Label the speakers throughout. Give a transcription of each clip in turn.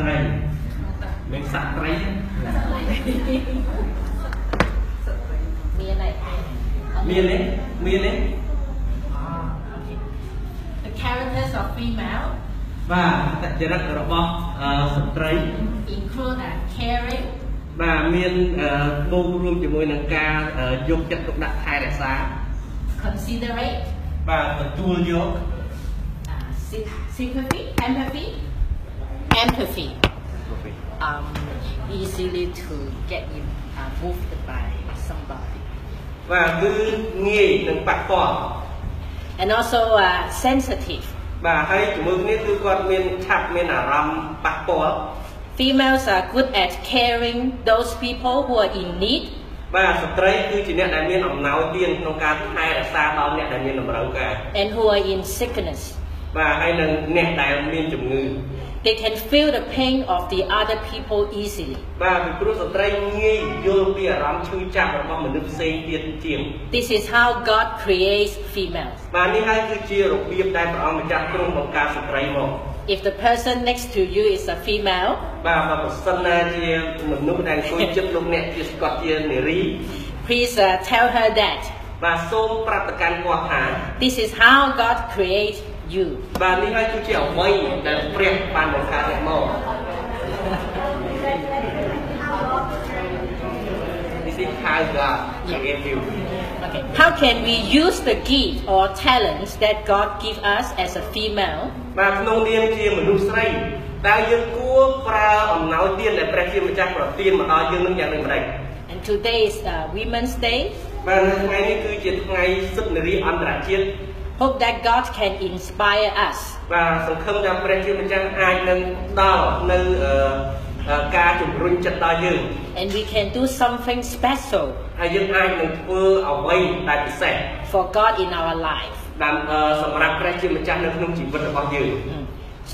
Speaker 1: ត្រីមានសត្វត្រី
Speaker 2: មានហើយ
Speaker 1: មានទេមានទេ
Speaker 2: The characters of female
Speaker 1: បាទអត្តចរិតរបស់អឺស្ត្រី
Speaker 2: include a caring
Speaker 1: បាទមានអឺបូករួមជាមួយនឹងការអឺយកចិត្តទុកដាក់ថែរក្សា
Speaker 2: considerate
Speaker 1: បាទទទួលយក
Speaker 2: uh, sy- sympathy empathy empathy um easily to get in uh, moved by somebody
Speaker 1: បាទគឺងាយនឹងប៉ះពាល់
Speaker 2: and also uh, sensitive
Speaker 1: បាទហើយជាមួយគ្នាគឺគាត់មានឆាប់មានអារម្មណ៍ប៉ះពាល់
Speaker 2: females are good at caring those people who are in need
Speaker 1: បាទស្ត្រីគឺជាអ្នកដែលមានអំណោយទានក្នុងការថែរក្សាដល់អ្នកដែលមានតម្រូវការ
Speaker 2: and who are in sickness
Speaker 1: បាទហើយនឹងអ្នកដែលមានជំងឺ
Speaker 2: they can feel the pain of the other people easily
Speaker 1: បាទពីព្រោះស្ត្រីងាយយល់ពីអារម្មណ៍ឈឺចាប់របស់មនុស្សផ្សេងទៀតជាង
Speaker 2: This is how God creates females.
Speaker 1: បាទនេះហើយគឺជារបៀបដែលព្រះអង្គម្ចាស់ទ្រង់បង្កើតស្ត្រីមក
Speaker 2: If the person next to you is a female,
Speaker 1: បាទបើប្រសិនណាជាមនុស្សដែលអង្គុយចិត្តលោកអ្នកជាស្គាត់ជានារី
Speaker 2: please uh, tell her that
Speaker 1: បាទសូមប្រាប់ទៅកាន់គាត់ថា
Speaker 2: this is how God creates you.
Speaker 1: បាទនេះហើយគឺជាអ្វីដែលព្រះបានបង្កើតអ្នកមក This is how God created you
Speaker 2: Okay. How can we use the gift or talents that God gives us as a female
Speaker 1: បាទក្នុងនាមជាមនុស្សស្រីតើយើងគួរប្រើអំណោយទានដែលព្រះជាម្ចាស់ប្រទានមកដល់យើងនឹងយ៉ាងដូចម្តេច
Speaker 2: and today is uh, Women's Day.
Speaker 1: បាទនៅថ្ងៃនេះគឺជាថ្ងៃសិទ្ធិនារីអន្តរជាតិ
Speaker 2: Hope that God can inspire us
Speaker 1: បាទសង្ឃឹមថាព្រះជាម្ចាស់អាចនឹងដល់នៅអឺអឺការជំរុញចិត្តដល់យើង
Speaker 2: and we can do something special
Speaker 1: ហើយយើងអាចនឹងធ្វើអ្វីដែលពិសេស
Speaker 2: for God in our life.
Speaker 1: តាមអឺសម្រាប់ព្រះជាម្ចាស់នៅក្នុងជីវិតរបស់យើង
Speaker 2: Mm.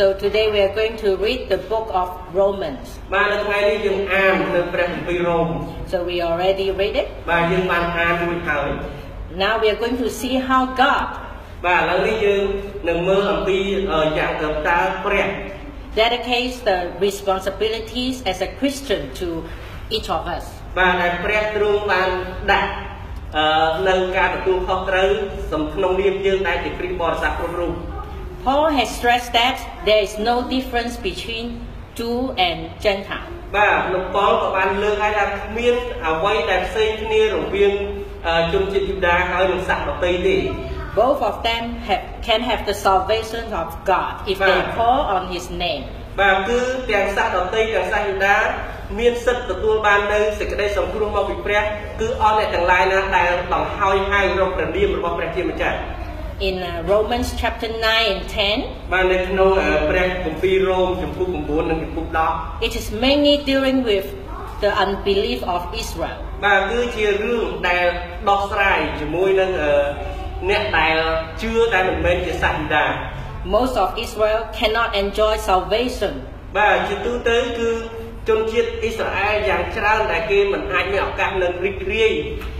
Speaker 2: So today we are going to read the book of Romans.
Speaker 1: បាទនៅថ្ងៃនេះយើងអាននៅព្រះគម្ពីររ៉ូម
Speaker 2: So we already read it.
Speaker 1: បាទយើងបានអានរួចហើយ
Speaker 2: Now we are going to see how God
Speaker 1: បាទឥឡូវនេះយើងនឹងមើលអំពីអឺយ៉ាងទៅតើព្រះ
Speaker 2: dedicates the responsibilities as a Christian to each of us.
Speaker 1: បាទដែលព្រះទ្រង់បានដាក់អឺនៅការទទួលខុសត្រូវសំក្នុងនាមយើងដែលជាគ្រីស្ទបរិស័ទគ្រប់រូប
Speaker 2: Paul has stressed that there is no difference between Jew and Gentile.
Speaker 1: បាទលោកប៉ុលក៏បានលើកឲ្យថាគ្មានអ្វីដែលផ្សេងគ្នារវាងអឺជនជាតិយូដាហើយនិងសាសន៍ដទៃទេ
Speaker 2: Both of them have, can have the salvation of God if they
Speaker 1: Right.
Speaker 2: call on His name.
Speaker 1: បាទគឺទាំងសាសន៍ដទៃទាំងសាសន៍យូដាមានសិទ្ធិទទួលបាននៅសេចក្តីសង្គ្រោះមកពីព្រះគឺអស់អ្នកទាំងឡាយណាដែលដង្ហោយហៅរកព្រះនាមរបស់ព្រះជាម្ចាស់
Speaker 2: In uh, Romans chapter 9 and 10,
Speaker 1: បាទនៅក្នុងអឺព្រះគម្ពីររ៉ូមចំពុក9និងចំពុក10
Speaker 2: it is mainly dealing with the unbelief of Israel.
Speaker 1: បាទគឺជារឿងដែលដោះស្រាយជាមួយនឹងអឺអ្នកដែលជឿតែមិនមែនជាសាសន៍យូដា
Speaker 2: Most of Israel cannot enjoy salvation
Speaker 1: បាទជាទូទៅគឺជនជាតិអ៊ីស្រាអែលយ៉ាងច្រើនដែលគេមិនអាចមានឱកាសនឹងរីករាយ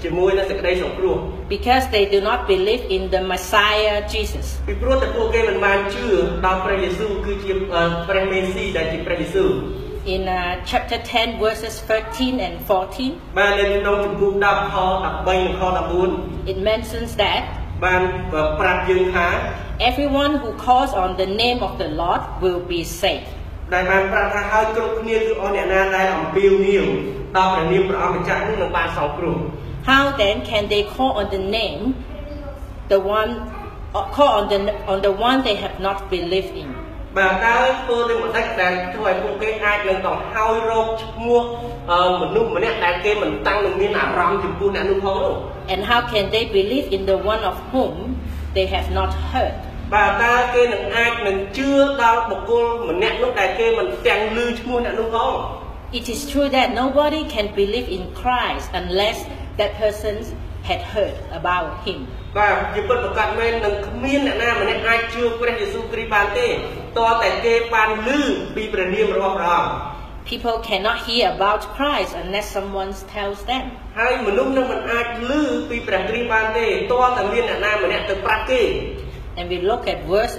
Speaker 1: ជាមួយនឹងសេចក្តីសង្គ្រោះ
Speaker 2: because they do not believe in the Messiah Jesus.
Speaker 1: ពីព្រោះតែពួកគេមិនបានជឿដល់ព្រះយេស៊ូវគឺជាអឺព្រះមេស៊ីដែលជាព្រះយេស៊ូវ
Speaker 2: In uh, chapter 10, verses 13 and 14,
Speaker 1: បាទនៅក្នុងជំពូក10ខ13និងខ14
Speaker 2: it mentions that
Speaker 1: បានប្រាប់យើងថា
Speaker 2: everyone who calls on the name of the Lord will be saved.
Speaker 1: ដែលបានប្រាប់ថាហើយគ្រប់គ្នាគឺអស់អ្នកណាដែលអំពាវនាវដល់ព្រះនាមព្រះអង្គម្ចាស់នោះនឹងបានសង្គ្រោះ
Speaker 2: How then can they call on the name, the one, uh, call on the, on the one they have not believed in?
Speaker 1: បាទតើធ្វើទៅមិនដាច់ដែលធ្វើឲ្យពួកគេអាចនឹងដង្ហើយរោគឈ្មោះអឺមនុស្សម្នាក់ដែលគេមិនតាំងនឹងមានអារម្មណ៍ចំពោះអ្នកនោះផងនោះ
Speaker 2: And how can they believe in the one of whom they have not heard?
Speaker 1: បាទតើគេនឹងអាចនឹងជឿដល់បុគ្គលម្នាក់នោះដែលគេមិនទាំងឮឈ្មោះអ្នកនោះផង
Speaker 2: It is true that nobody can believe in Christ unless that person had heard about him.
Speaker 1: បាទជាពិតប្រកបមែននឹងគ្មានអ្នកណាម្នាក់អាចជឿព្រះយេស៊ូវគ្រីស្ទបានទេតើតែគេបានឮពីព្រះនាមរបស់ព្រះអង្គ
Speaker 2: People cannot hear about Christ unless someone tells them.
Speaker 1: ហើយមនុស្សនឹងមិនអាចឮពីព្រះគ្រីស្ទបានទេតើតែមានអ្នកណាម្នាក់ទៅប្រាប់គេ
Speaker 2: And we look at verse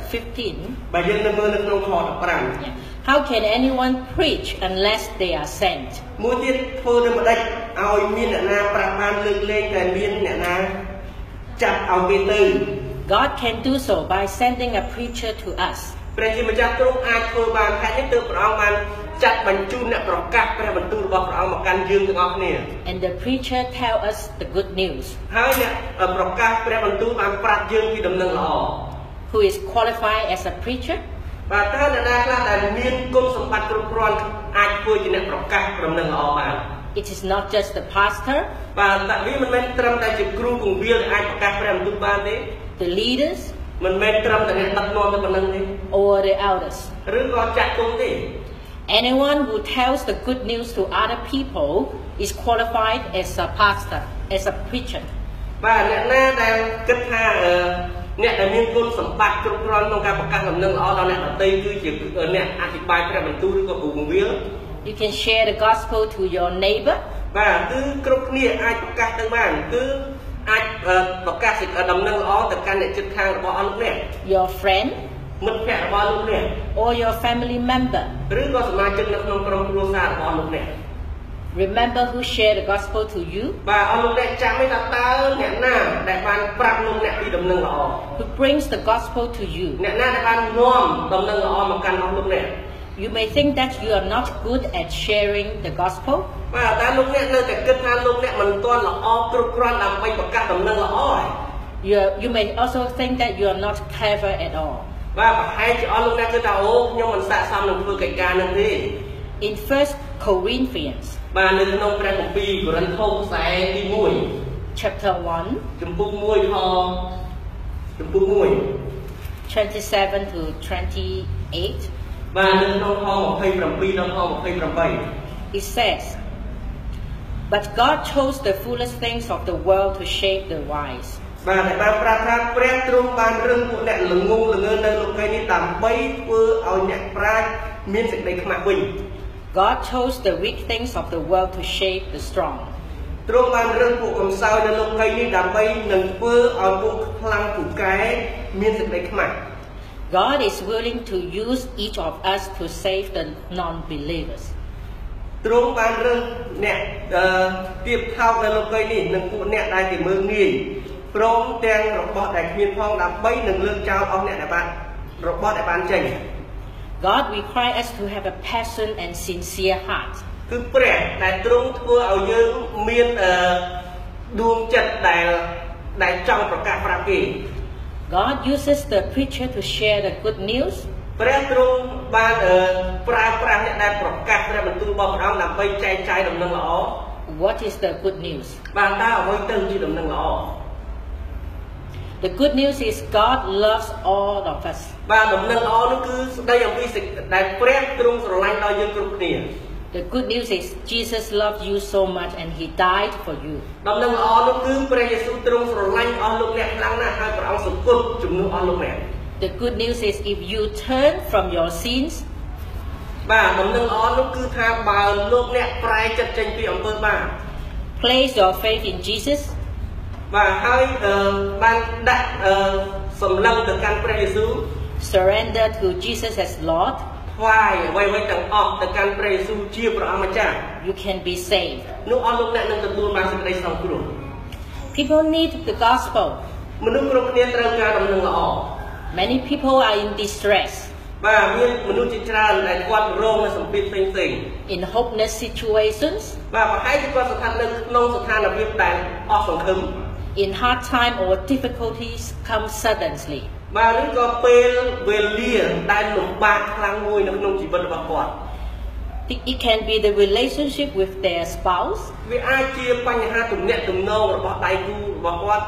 Speaker 2: 15.
Speaker 1: បើយើងនៅមើលនៅក្នុងខ15
Speaker 2: yeah. How can anyone preach unless they are sent?
Speaker 1: មួយទៀតធ្វើនៅម្ដេចឲ្យមានអ្នកណាប្រាប់បានលើកលែងតែមានអ្នកណាចាប់ឲ្យគេទៅ
Speaker 2: God can do so by sending a preacher to us.
Speaker 1: ព្រះជាម្ចាស់ទ្រង់អាចធ្វើបានហេតុនេះទើបព្រះអង្គបានចាត់បញ្ជូនអ្នកប្រកាសព្រះបន្ទូលរបស់ព្រះអង្គមកកាន់យើងទាំងអស់គ្នា
Speaker 2: And the preacher tell us the good news,
Speaker 1: ហើយអ្នកប្រកាសព្រះបន្ទូលបានប្រាប់យើងពីដំណឹងល្អ
Speaker 2: who is qualified as a preacher,
Speaker 1: បាទតើអ្នកណាខ្លះដែលមានគុណសម្បត្តិគ្រប់គ្រាន់អាចធ្វើជាអ្នកប្រកាសដំណឹងល្អបាន
Speaker 2: It is not just the pastor,
Speaker 1: បាទតាវាមិនមែនត្រឹមតែជាគ្រូគង្វាលដែលអាចប្រកាសព្រះបន្ទូលបានទេ
Speaker 2: the leaders,
Speaker 1: មិនមែនត្រឹមតែអ្នកដឹកនាំតែប៉ុណ្ណឹងទេ
Speaker 2: or the elders.
Speaker 1: ឬក៏ចាក់គុំទេ
Speaker 2: Anyone who tells the good news to other people is qualified as a pastor, as a preacher.
Speaker 1: បាទអ្នកណាដែលគិតថាអឺអ្នកដែលមានគុណសម្បត្តិគ្រប់គ្រាន់ក្នុងការប្រកាសដំណឹងល្អដល់អ្នកដទៃគឺជាអ្នកអធិប្បាយព្រះបន្ទូលឬក៏គ្រូគង្វាល
Speaker 2: You can share the gospel to your neighbor,
Speaker 1: បាទគឺគ្រប់គ្នាអាចប្រកាសទៅបានគឺអាចអឺប្រកាសសេចក្តីដំណឹងល្អទៅកាន់អ្នកជិតខាងរបស់អស់លោកអ្នក
Speaker 2: your friend,
Speaker 1: មិត្តភក្តិរបស់លោកអ្នក
Speaker 2: or your family member.
Speaker 1: ឬក៏សមាជិកនៅក្នុងក្រុមគ្រួសាររបស់លោកអ្នក
Speaker 2: Remember who shared the gospel to you,
Speaker 1: បាទអស់លោកអ្នកចាំទេថាតើអ្នកណាដែលបានប្រាប់លោកអ្នកពីដំណឹងល្អ
Speaker 2: who brings the gospel to you.
Speaker 1: អ្នកណាដែលបាននាំដំណឹងល្អមកកាន់អស់លោកអ្នក
Speaker 2: You may think that you are not good at sharing the gospel,
Speaker 1: បាទតើលោកអ្នកនៅតែគិតថាលោកអ្នកមិនទាន់ល្អគ្រប់គ្រាន់ដើម្បីប្រកាសដំណឹងល្អហើយ
Speaker 2: you, are- you may also think that you are not clever at all.
Speaker 1: បាទប្រហែលជាអស់លោកអ្នកគិតថាអូខ្ញុំមិនស័ក្តិសមនឹងធ្វើកិច្ចការនឹងទេ
Speaker 2: In 1 Corinthians
Speaker 1: បាទនៅក្នុងព្រះគម្ពីរកូរិនថូសខ្សែទី
Speaker 2: chapter 1,
Speaker 1: 1ចំពុក1ខចំពុក
Speaker 2: 27 to 28,
Speaker 1: 1បាទនៅក្នុងខ27ដល់ខ28
Speaker 2: it says, But God chose the foolish things of the world to shame the wise.
Speaker 1: បាទតែលបានប្រាប់ថាព្រះទ្រង់បានរឹងពួកអ្នកល្ងងល្ងើនៅលោកីយ៍នេះដើម្បីធ្វើឲ្យអ្នកប្រាជ្ញមានសេចក្តីខ្មាស់វិញ
Speaker 2: God chose the weak things of the world to shame the strong.
Speaker 1: ទ្រង់បានរឹងពួកកំសោយនៅលោកីយ៍នេះដើម្បីនឹងធ្វើឲ្យពួកខ្លាំងពូកែមានសេចក្តីខ្មាស់
Speaker 2: God is willing to use each of us to save the non believers.
Speaker 1: ទ្រង់បានរឹងអ្នកអឺទៀបថោកនៅលោកីយ៍នេះនឹងពួកអ្នកដែលជាមើងងាយព្រមទាំងរបស់ដែលគ្មានផងដើម្បីនឹងលើកចោលអស់អ្នកដែលបានរបស់ដែលបានចេញ
Speaker 2: God requires us to have a passion and sincere heart.
Speaker 1: គឺព្រះដែលទ្រង់ធ្វើឲ្យយើងមានអឺដួងចិត្តដែលដែលចង់ប្រកាសប្រាប់គេ
Speaker 2: God uses the preacher to share the good news,
Speaker 1: ព្រះទ្រង់បានអឺប្រើប្រាស់អ្នកដែលប្រកាសព្រះបន្ទូលរបស់ព្រះអង្គដើម្បីចែកចាយដំណឹងល្អ
Speaker 2: What is the good news?
Speaker 1: បានតើអ្វីទៅជាដំណឹងល្អ
Speaker 2: The good news is God loves all of us.
Speaker 1: បាទដំណឹងល្អនោះគឺស្ដីអំពីសេចក្ដីដែលព្រះទ្រង់ស្រឡាញ់ដល់យើងគ្រប់គ្នា
Speaker 2: The good news is Jesus loved you so much and he died for you.
Speaker 1: ដំណឹងល្អនោះគឺព្រះយេស៊ូវទ្រង់ស្រឡាញ់អស់លោកអ្នកខ្លាំងណាស់ហើយព្រះអង្គសង្គ្រប់ជំនួសអស់លោកអ្នក
Speaker 2: The good news is if you turn from your sins,
Speaker 1: បាទដំណឹងល្អនោះគឺថាបើលោកអ្នកប្រែចិត្តចេញពីអំពើបាប
Speaker 2: place your faith in Jesus,
Speaker 1: បាទហើយអឺបានដាក់អឺសម្លឹងទៅកាន់ព្រះយេស៊ូវ
Speaker 2: surrender to Jesus as Lord,
Speaker 1: ថ្វាយអ្វីៗទាំងអស់ទៅកាន់ព្រះយេស៊ូវជាព្រះអង្គម្ចាស់
Speaker 2: you can be saved.
Speaker 1: នោះអស់លោកអ្នកនឹងទទួលបានសេចក្តីសង្គ្រោះ
Speaker 2: People need the gospel.
Speaker 1: មនុស្សគ្រប់គ្នាត្រូវការដំណឹងល្អ
Speaker 2: Many people are in distress,
Speaker 1: បាទមានមនុស្សជាច្រើនដែលគាត់រងនូវសម្ពាធផ្សេងផ្សេង
Speaker 2: in hopeless situations,
Speaker 1: ៗបាទប្រហែលជាគាត់ស្ថិតនៅក្នុងស្ថានភាពដែលអស់សង្ឃឹម
Speaker 2: in hard time or difficulties come suddenly.
Speaker 1: បាទឬក៏ពេលវេលាដែលលំបាកខ្លាំងមួយនៅក្នុងជីវិតរបស់គាត់
Speaker 2: It it can be the relationship with their spouse,
Speaker 1: វាអាចជាបញ្ហាទំនាក់ទំនងរបស់ដៃគូរបស់គាត់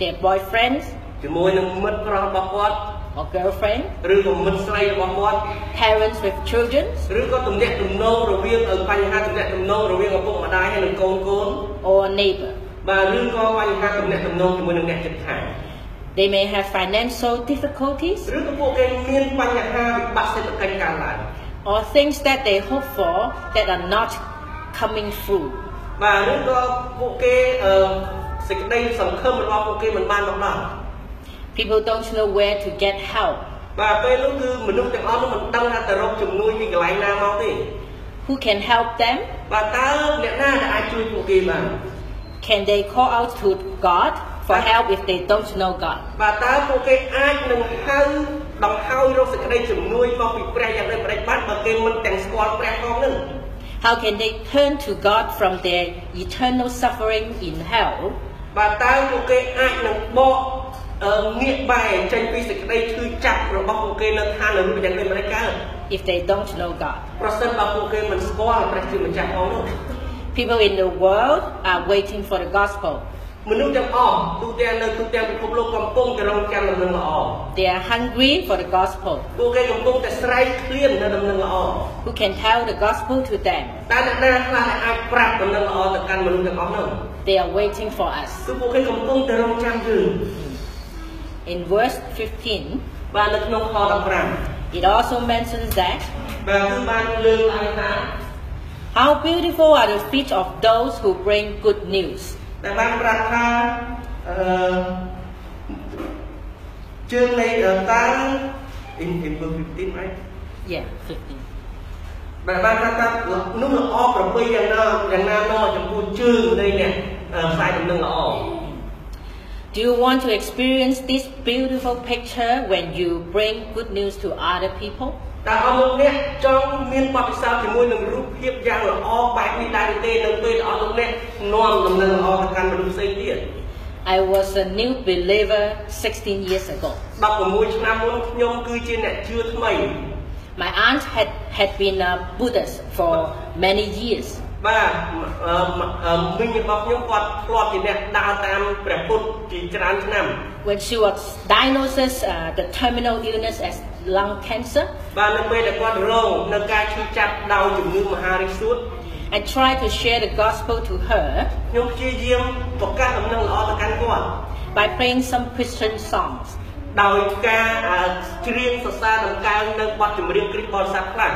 Speaker 2: their boyfriends
Speaker 1: ជាមួយនឹងមិត្តប្រុសរបស់គាត់
Speaker 2: or girlfriend,
Speaker 1: ឬក៏មិត្តស្រីរបស់គាត់
Speaker 2: parents with children,
Speaker 1: ឬក៏ទំនាក់ទំនងរវាងបញ្ហាទំនាក់ទំនងរវាងឪពុកម្ដាយហើយនិងកូនកូន
Speaker 2: or neighbor.
Speaker 1: បាទឬក៏បញ្ហាទំនាក់ទំនងជាមួយនឹងអ្នកជិតខាង
Speaker 2: They may have financial difficulties
Speaker 1: ឬក៏ពួកគេមានបញ្ហាវិបត្តិសេដ្ឋកិច្ចកើនឡើង
Speaker 2: or things that they hope for that are not coming through.
Speaker 1: បាទឬក៏ពួកគេអឺសេចក្តីសង្ឃឹមរបស់ពួកគេមិនបានមកដល់
Speaker 2: People don't know where to get help.
Speaker 1: បាទពេលនោះគឺមនុស្សទាំងអស់នោះមិនដឹងថាទៅរកជំនួយពីកន្លែងណាមកទេ
Speaker 2: Who can help them?
Speaker 1: បាទតើអ្នកណាដែលអាចជួយពួកគេបាន
Speaker 2: Can they call out to God for help if they don't know God?
Speaker 1: បាទតើពួកគេអាចនឹងហៅដង្ហើយរកសេចក្តីជំនួយមកពីព្រះយ៉ាងដូចម្តេចបានបើគេមិនទាំងស្គាល់ព្រះផងនឹង
Speaker 2: How can they turn to God from their eternal suffering in hell
Speaker 1: បាទតើពួកគេអាចនឹងបកអឺងាកបែរចេញពីសេចក្តីឈឺចាប់របស់ពួកគេនៅឋាននរកយ៉ាងដូចម្តេចកើត
Speaker 2: if they don't know God?
Speaker 1: ប្រសិនបើពួកគេមិនស្គាល់ព្រះជាម្ចាស់ផងនោះ
Speaker 2: People in the world are waiting for the gospel.
Speaker 1: មនុស្សទាំងអស់ទូទាំងនៅទូទាំងពិភពលោកកំពុងតែរងចាំដំណឹងល្អ
Speaker 2: They are hungry for the gospel.
Speaker 1: ពួកគេកំពុងតែស្រែកឃ្លាននៅដំណឹងល្អ
Speaker 2: Who can tell the gospel to them?
Speaker 1: តើអ្នកណាខ្លះដែលអាចប្រាប់ដំណឹងល្អទៅកាន់មនុស្សទាំងអស់នោះ
Speaker 2: They are waiting for us.
Speaker 1: គឺពួកគេកំពុងតែរងចាំយើង
Speaker 2: In verse 15,
Speaker 1: បាទនៅក្នុងខ15បាទ
Speaker 2: it also mentions that
Speaker 1: គឺបានលើកឡើងថា
Speaker 2: how beautiful are the feet of those who bring good news.
Speaker 1: ដែលបានប្រាប់ថាអឺជើងនៃអឺតា in in verse 15 right
Speaker 2: Yeah, 15.
Speaker 1: បាទបានប្រាប់ថានោះល្អប្រពៃយ៉ាងណាយ៉ាងណាមកចំពោះជើងនៃអ្នកអឺខ្សែដំណឹងល្អ
Speaker 2: Do you want to experience this beautiful picture when you bring good news to other people?
Speaker 1: តើអស់លោកអ្នកចង់មានបទពិសោធន៍ជាមួយនឹងរូបភាពយ៉ាងល្អបែបនេះដែរឬទេនៅពេលដែលអស់លោកអ្នកនាំដំណឹងល្អទៅកាន់មនុស្សផ្សេងទៀត
Speaker 2: I was a new believer 16 years ago.
Speaker 1: 16ឆ្នាំមុនខ្ញុំគឺជាអ្នកជឿថ្មី
Speaker 2: My aunt had, had been a Buddhist for many years.
Speaker 1: បាទអឺមអឺមិញរបស់ខ្ញុំគាត់ធ្លាប់ជាអ្នកដើរតាមព្រះពុទ្ធជាច្រើនឆ្នាំ
Speaker 2: When she was diagnosed uh, the terminal illness as lung cancer,
Speaker 1: បាទនៅពេលដែលគាត់រងនៅការឈឺចាប់ដោយជំងឺមហារីកសួត
Speaker 2: I tried to share the gospel to her
Speaker 1: ខ្ញុំព្យាយាមប្រកាសដំណឹងល្អទៅកាន់គាត់
Speaker 2: by playing some Christian songs.
Speaker 1: ដោយការអឺច្រៀងសរសើរដង្កើងនៅបទចម្រៀងគ្រីស្ទបរិស័ទខ្លះ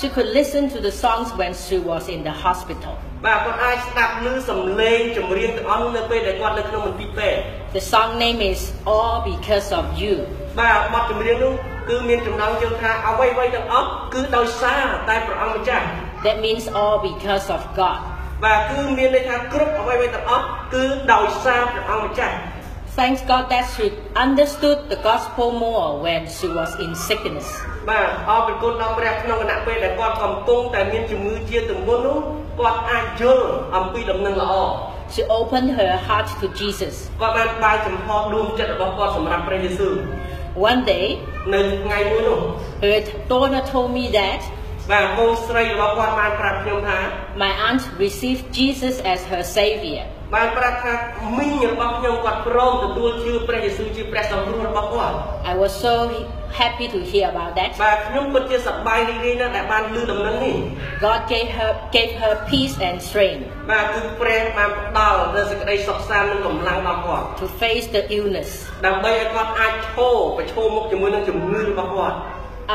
Speaker 2: She could listen to the songs when she was in the hospital.
Speaker 1: បាទគាត់អាចស្ដាប់ឮសំឡេងចម្រៀងទាំងអស់នោះនៅពេលដែលគាត់នៅក្នុងមន្ទីរពេទ្យ
Speaker 2: The song name is All Because of You.
Speaker 1: បាទបទចម្រៀងនោះគឺមានចំណងជើងថាអ្វីៗទាំងអស់គឺដោយសារតែព្រះអង្គម្ចាស់
Speaker 2: That means all because of God.
Speaker 1: បាទគឺមានន័យថាគ្រប់អ្វីៗទាំងអស់គឺដោយសារព្រះអង្គម្ចាស់
Speaker 2: Thanks God that she understood the gospel more when she was in sickness.
Speaker 1: បាទអរគុណដល់ព្រះក្នុងគណៈពេលដែលគាត់កំពុងតែមានជំងឺជាទម្ងន់នោះគាត់អាចយល់អំពីដំណឹងល្អ
Speaker 2: She opened her heart to Jesus.
Speaker 1: គាត់បានបើកចំហដួងចិត្តរបស់គាត់សម្រាប់ព្រះយេស៊ូវ
Speaker 2: One day,
Speaker 1: នៅថ្ងៃមួយនោះ
Speaker 2: her daughter told me that
Speaker 1: បាទកូនស្រីរបស់គាត់បានប្រាប់ខ្ញុំថា
Speaker 2: my aunt received Jesus as her savior.
Speaker 1: បានប្រាប់ថាមីងរបស់ខ្ញុំគាត់ព្រមទទួលជឿព្រះយេស៊ូវជាព្រះសម្រួលរបស់គាត់
Speaker 2: I was so happy to hear about that.
Speaker 1: បាទខ្ញុំពិតជាសប្បាយរីករាយណាស់ដែលបានលើដំណឹងនេះ
Speaker 2: God gave her, gave her peace and strength
Speaker 1: បាទគឺព្រះបានផ្ដល់នូវសេចក្តីសុខសាន្តនិងកម្លាំងដល់គាត់
Speaker 2: to face the illness.
Speaker 1: ដើម្បីឲ្យគាត់អាចឈរប្រឈមមុខជាមួយនឹងជំងឺរបស់គាត់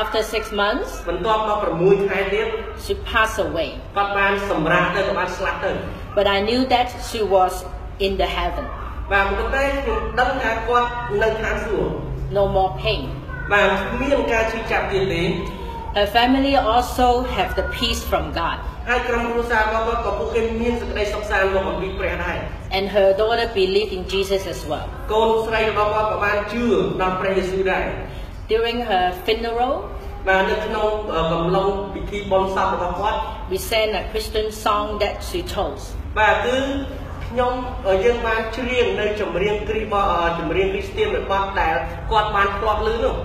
Speaker 2: After six months,
Speaker 1: បន្ទាប់មក6ខែទៀត
Speaker 2: she passed away.
Speaker 1: គាត់បានសម្រាកទៅក៏បានស្លាប់ទៅ
Speaker 2: But I knew that she was in the heaven.
Speaker 1: បាទប៉ុន្តែខ្ញុំដឹងថាគាត់នៅឋានសួគ៌
Speaker 2: No more pain.
Speaker 1: បាទគ្មានការឈឺចាប់ទៀតទេ
Speaker 2: Her family also have the peace from God.
Speaker 1: ហើយក្រុមគ្រួសាររបស់គាត់ក៏ពួកគេមានសេចក្តីសុខសាន្តមកអំពីព្រះដែរ
Speaker 2: And her daughter believed in Jesus as well.
Speaker 1: កូនស្រីរបស់គាត់ក៏បានជឿដល់ព្រះយេស៊ូវដែរ
Speaker 2: During her funeral,
Speaker 1: បាទនៅក្នុងអឺកំឡុងពិធីបុណ្យសពរបស់គាត់
Speaker 2: we sang a Christian song that she chose.
Speaker 1: បាទគឺខ្ញុំអឺយើងបានច្រៀងនៅចម្រៀងគ្រីស្ទបអឺចម្រៀងគ្រីស្ទានរបស់ដែលគាត់បានផ្លាត់លឺនោះ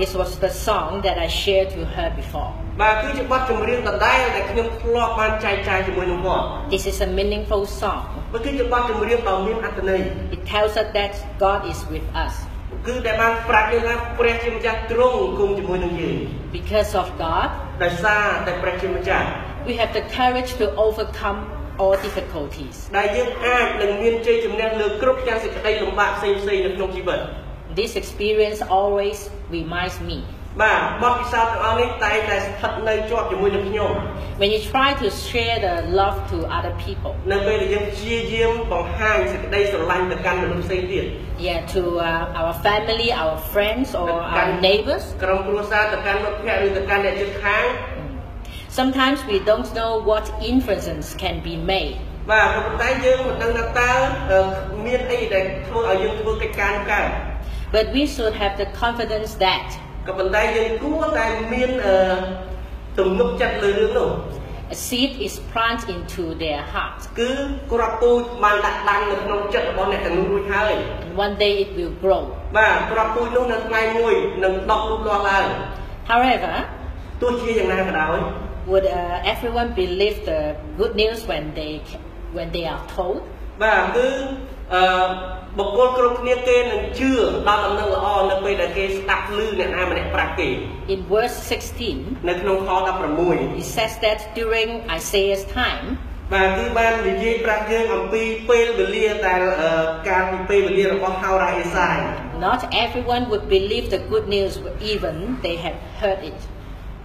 Speaker 2: This was the song that I shared with her before.
Speaker 1: បាទគឺជាបទចម្រៀងដដែលដែលខ្ញុំធ្លាប់បានចែកចាយជាមួយនឹងគាត់
Speaker 2: This is a meaningful song.
Speaker 1: វាគឺជាបទចម្រៀងដ៏មានអត្ថន័យ
Speaker 2: It tells us that God is with us.
Speaker 1: គឺដែលបានប្រាប់យើងថាព្រះជាម្ចាស់ទ្រង់គង់ជាមួយនឹងយើង
Speaker 2: Because of God,
Speaker 1: ដោយសារតែព្រះជាម្ចាស់
Speaker 2: we have the courage to overcome all difficulties.
Speaker 1: ដែលយើងអាចនឹងមានជ័យជំនះលើគ្រប់ទាំងសេចក្តីលំបាកផ្សេងៗនៅក្នុងជីវិត
Speaker 2: This experience always reminds me
Speaker 1: បាទបទពិសោធន៍ទាំងអស់នេះតែងតែស្ថិតនៅជាប់ជាមួយនឹងខ្ញុំ
Speaker 2: When you try to share the love to other people,
Speaker 1: នៅពេលដែលយើងព្យាយាមបង្ហាញសេចក្តីស្រឡាញ់ទៅកាន់មនុស្សផ្សេងទៀត
Speaker 2: yeah, to uh, our family, our friends, or our
Speaker 1: Kan-
Speaker 2: neighbors,
Speaker 1: ក្រុមគ្រួសារទៅកាន់មិត្តភ័ក្តិឬទៅកាន់អ្នកជិតខាង
Speaker 2: sometimes we don't know what inferences can be made.
Speaker 1: បាទក៏ប៉ុន្តែយើងមិនដឹងថាតើអឺមានអីដែលធ្វើឲ្យយើងធ្វើកិច្ចការនោះកើត
Speaker 2: But we should have the confidence that
Speaker 1: ក៏ប៉ុន្តែយើងគួរតែមានអឺទំនុកចិត្តលើរឿងនោះ
Speaker 2: a seed is planted into their heart,
Speaker 1: គឺគ្រាប់ពូជបានដាក់ដាំនៅក្នុងចិត្តរបស់អ្នកទាំងនោះរួចហើយ
Speaker 2: and one day it will grow.
Speaker 1: បាទគ្រាប់ពូជនោះនៅថ្ងៃមួយនឹងដុះលូតលាស់ឡើង
Speaker 2: However,
Speaker 1: ទោះជាយ៉ាងណាក៏ដោយ
Speaker 2: would uh, everyone believe the good news when they when they are told?
Speaker 1: បាទគឺអឺបុគ្គលគ្រប់គ្នាគេនឹងជឿដល់ដំណឹងល្អនៅពេលដែលគេស្ដាប់ឮអ្នកណាម្នាក់ប្រាប់គេ
Speaker 2: In verse 16,
Speaker 1: នៅក្នុងខ16
Speaker 2: it says that during Isaiah's time,
Speaker 1: បាទគឺបាននិយាយប្រាប់យើងអំពីពេលវេលាដែលអឺការពីពេលវេលារបស់ហោរ៉ាអេសាយ
Speaker 2: not everyone would believe the good news even they have heard it.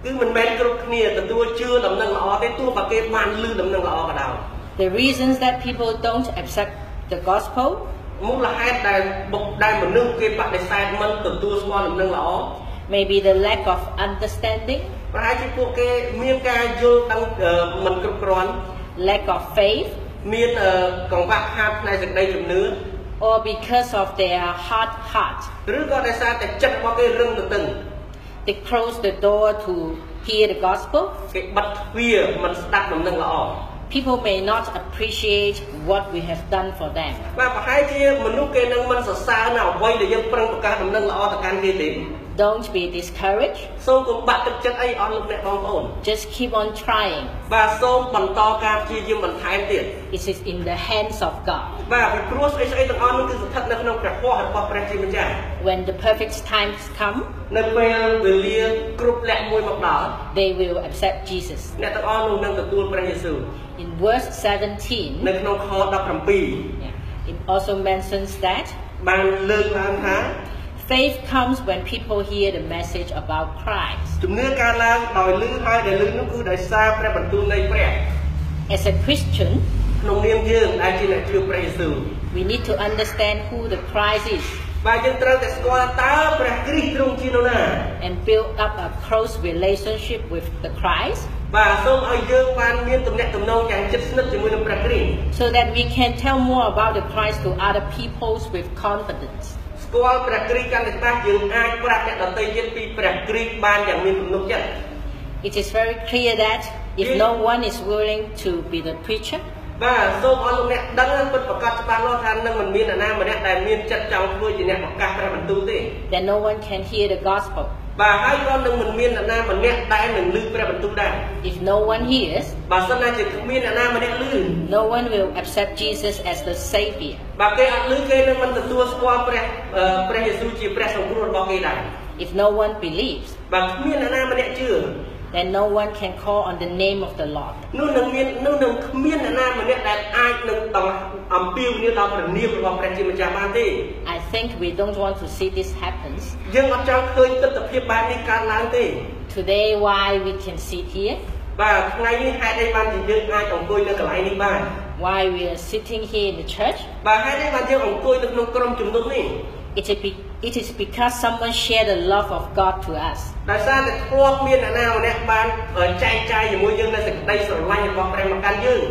Speaker 1: គឺមិនមែនគ្រប់គ្នាទទួលជឿដំណឹងល្អទេទោះបើគេបានឮដំណឹងល្អក៏ដោយ
Speaker 2: The reasons that people don't accept the gospel
Speaker 1: មូលហេតុដែលបុកដែលមនុស្សគេបដិសេធមិនទទួលស្គាល់ដំណឹងល្អ
Speaker 2: may be the lack of understanding,
Speaker 1: ប្រហែលជាពួកគេមានការយល់ដឹងអឺមិនគ្រប់គ្រាន់
Speaker 2: lack of faith,
Speaker 1: មានអឺកង្វះខាតផ្នែកសេចក្តីជំនឿ
Speaker 2: or because of their hard heart.
Speaker 1: ឬក៏ដោយសារតែចិត្តរបស់គេរឹងទទឹង
Speaker 2: They close the door to hear the gospel.
Speaker 1: គេបិទទ្វារមិនស្ដាប់ដំណឹងល្អ
Speaker 2: People may not appreciate what we have done for them.
Speaker 1: បាទប្រហែលជាមនុស្សគេនឹងមិនសរសើរនៅអ្វីដែលយើងប្រឹងប្រកាសដំណឹងល្អទៅកាន់គេទេ
Speaker 2: Don't be discouraged.
Speaker 1: សូមកុំបាក់ទឹកចិត្តអីអស់លោកអ្នកបងប្អូន
Speaker 2: Just keep on trying.
Speaker 1: បាទសូមបន្តការព្យាយាមបន្ថែមទៀត
Speaker 2: It is in the hands of God.
Speaker 1: បាទពីព្រោះស្អីស្អីទាំងអស់នោះគឺស្ថិតនៅក្នុងព្រះពររបស់ព្រះជាម្ចាស់
Speaker 2: When the perfect times come,
Speaker 1: នៅពេលវេលាគ្រប់លក្ខមួយមកដល់
Speaker 2: they will accept Jesus.
Speaker 1: អ្នកទាំងអស់នោះនឹងទទួលព្រះយេស៊ូវ
Speaker 2: In verse 17,
Speaker 1: នៅក្នុងខ17
Speaker 2: yeah, it also mentions that
Speaker 1: បានលើកឡើងថា
Speaker 2: faith comes when people hear the message about Christ.
Speaker 1: ជំនឿកើតឡើងដោយលឺហើយដែលលឺនោះគឺដោយសារព្រះបន្ទូលនៃព្រះ
Speaker 2: As a Christian,
Speaker 1: ក្នុងនាមយើងដែលជាអ្នកជឿព្រះយេស៊ូវ
Speaker 2: we need to understand who the Christ is
Speaker 1: បាទយើងត្រូវតែស្គាល់ថាតើព្រះគ្រីស្ទទ្រង់ជានរណា
Speaker 2: and build up a close relationship with the Christ
Speaker 1: បាទសូមឲ្យយើងបានមានទំនាក់ទំនងយ៉ាងជិតស្និទ្ធជាមួយនឹងព្រះគ្រីស្ទ
Speaker 2: so that we can tell more about the Christ to other peoples with confidence.
Speaker 1: ស្គាល់ព្រះគ្រីស្ទកាន់តែច្បាស់យើងអាចប្រាប់អ្នកដទៃទៀតពីព្រះគ្រីស្ទបានយ៉ាងមានទំនុកចិត្ត
Speaker 2: It is very clear that if no one is willing to be the preacher,
Speaker 1: បាទសូមអស់លោកអ្នកដឹងពិតប្រកបច្បាស់លាស់ថានឹងមិនមានអ្នកណាម្នាក់ដែលមានចិត្តចង់ធ្វើជាអ្នកប្រកាសព្រះបន្ទូលទេ
Speaker 2: then no one can hear the gospel.
Speaker 1: បាទហើយក៏នឹងមិនមានអ្នកណាម្នាក់ដែលនឹងឮព្រះបន្ទូលដែរ
Speaker 2: If no one hears,
Speaker 1: បើសិនណាជាគ្មានអ្នកណាម្នាក់ឮ
Speaker 2: no one will accept Jesus as the Savior.
Speaker 1: បើគេអត់ឮគេនឹងមិនទទួលស្គាល់ព្រះអឺព្រះយេស៊ូវជាព្រះសង្គ្រោះរបស់គេដែរ
Speaker 2: If no one believes,
Speaker 1: បើគ្មានអ្នកណាម្នាក់ជឿ
Speaker 2: then no one can call on the name of the Lord.
Speaker 1: នោះនឹងមាននោះនឹងគ្មានអ្នកណាម្នាក់ដែលអាចនឹងដល់អំពាវនាវដល់ព្រះនាមរបស់ព្រះជាម្ចាស់បានទេ
Speaker 2: I think we don't want to see this happens.
Speaker 1: យើងអត់ចង់ឃើញទស្សនវិជ្ជាបែបនេះកើតឡើងទេ
Speaker 2: Today, why we can sit here,
Speaker 1: បាទថ្ងៃនេះហេតុអីបានជាយើងអាចអង្គុយនៅកន្លែងនេះបាន
Speaker 2: why we are sitting here in the church,
Speaker 1: បាទហេតុអីបានយើងអង្គុយនៅក្នុងក្រុមជំនុំនេះ
Speaker 2: it is, be- it is because someone shared the love of God to us.
Speaker 1: ដោយសារតែធ្លាប់មានអ្នកណាម្នាក់បានចែកចាយជាមួយយើងនៅសេចក្តីស្រឡាញ់របស់ព្រះមកកាន់យើង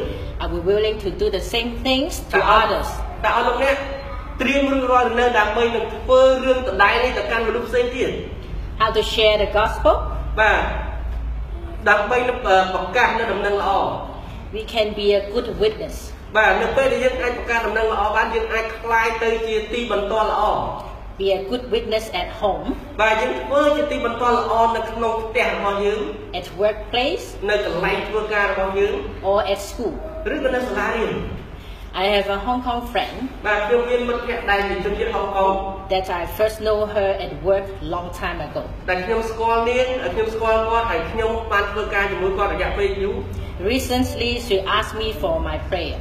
Speaker 2: Are we willing to do the same things
Speaker 1: តើ
Speaker 2: to
Speaker 1: អត់
Speaker 2: others?
Speaker 1: តើអត់លោកអ្នកត្រៀមរឿងរាល់ដំណើរដើម្បីនឹងធ្វើរឿងដដែលនេះទៅកាន់មនុស្សផ្សេងទៀត
Speaker 2: How to share the gospel?
Speaker 1: បាទដើម្បីនឹងអឺប្រកាសនៅដំណឹងល្អ
Speaker 2: We can be a good witness.
Speaker 1: បាទនៅពេលដែលយើងអាចប្រកាសដំណឹងល្អបានយើងអាចคลายទៅជាទីបន្ទាល់ល្អ
Speaker 2: Be a good witness at home,
Speaker 1: បាទយើងធ្វើជាទីបន្ទាល់ល្អនៅក្នុងផ្ទះរបស់យើង
Speaker 2: at workplace,
Speaker 1: នៅកន្លែងធ្វើការរបស់យើង
Speaker 2: or at school.
Speaker 1: ឬក៏នៅសាលារៀន
Speaker 2: I have a Hong Kong friend
Speaker 1: បាទខ្ញុំមានមិត្តភ័ក្តិដែលជាជនជាតិហុងកុង
Speaker 2: that I first know her at work long time ago.
Speaker 1: ដែលខ្ញុំស្គាល់នាងខ្ញុំស្គាល់គាត់ហើយខ្ញុំបានធ្វើការជាមួយគាត់រយៈពេលយូរ
Speaker 2: Recently, she asked me for my prayer.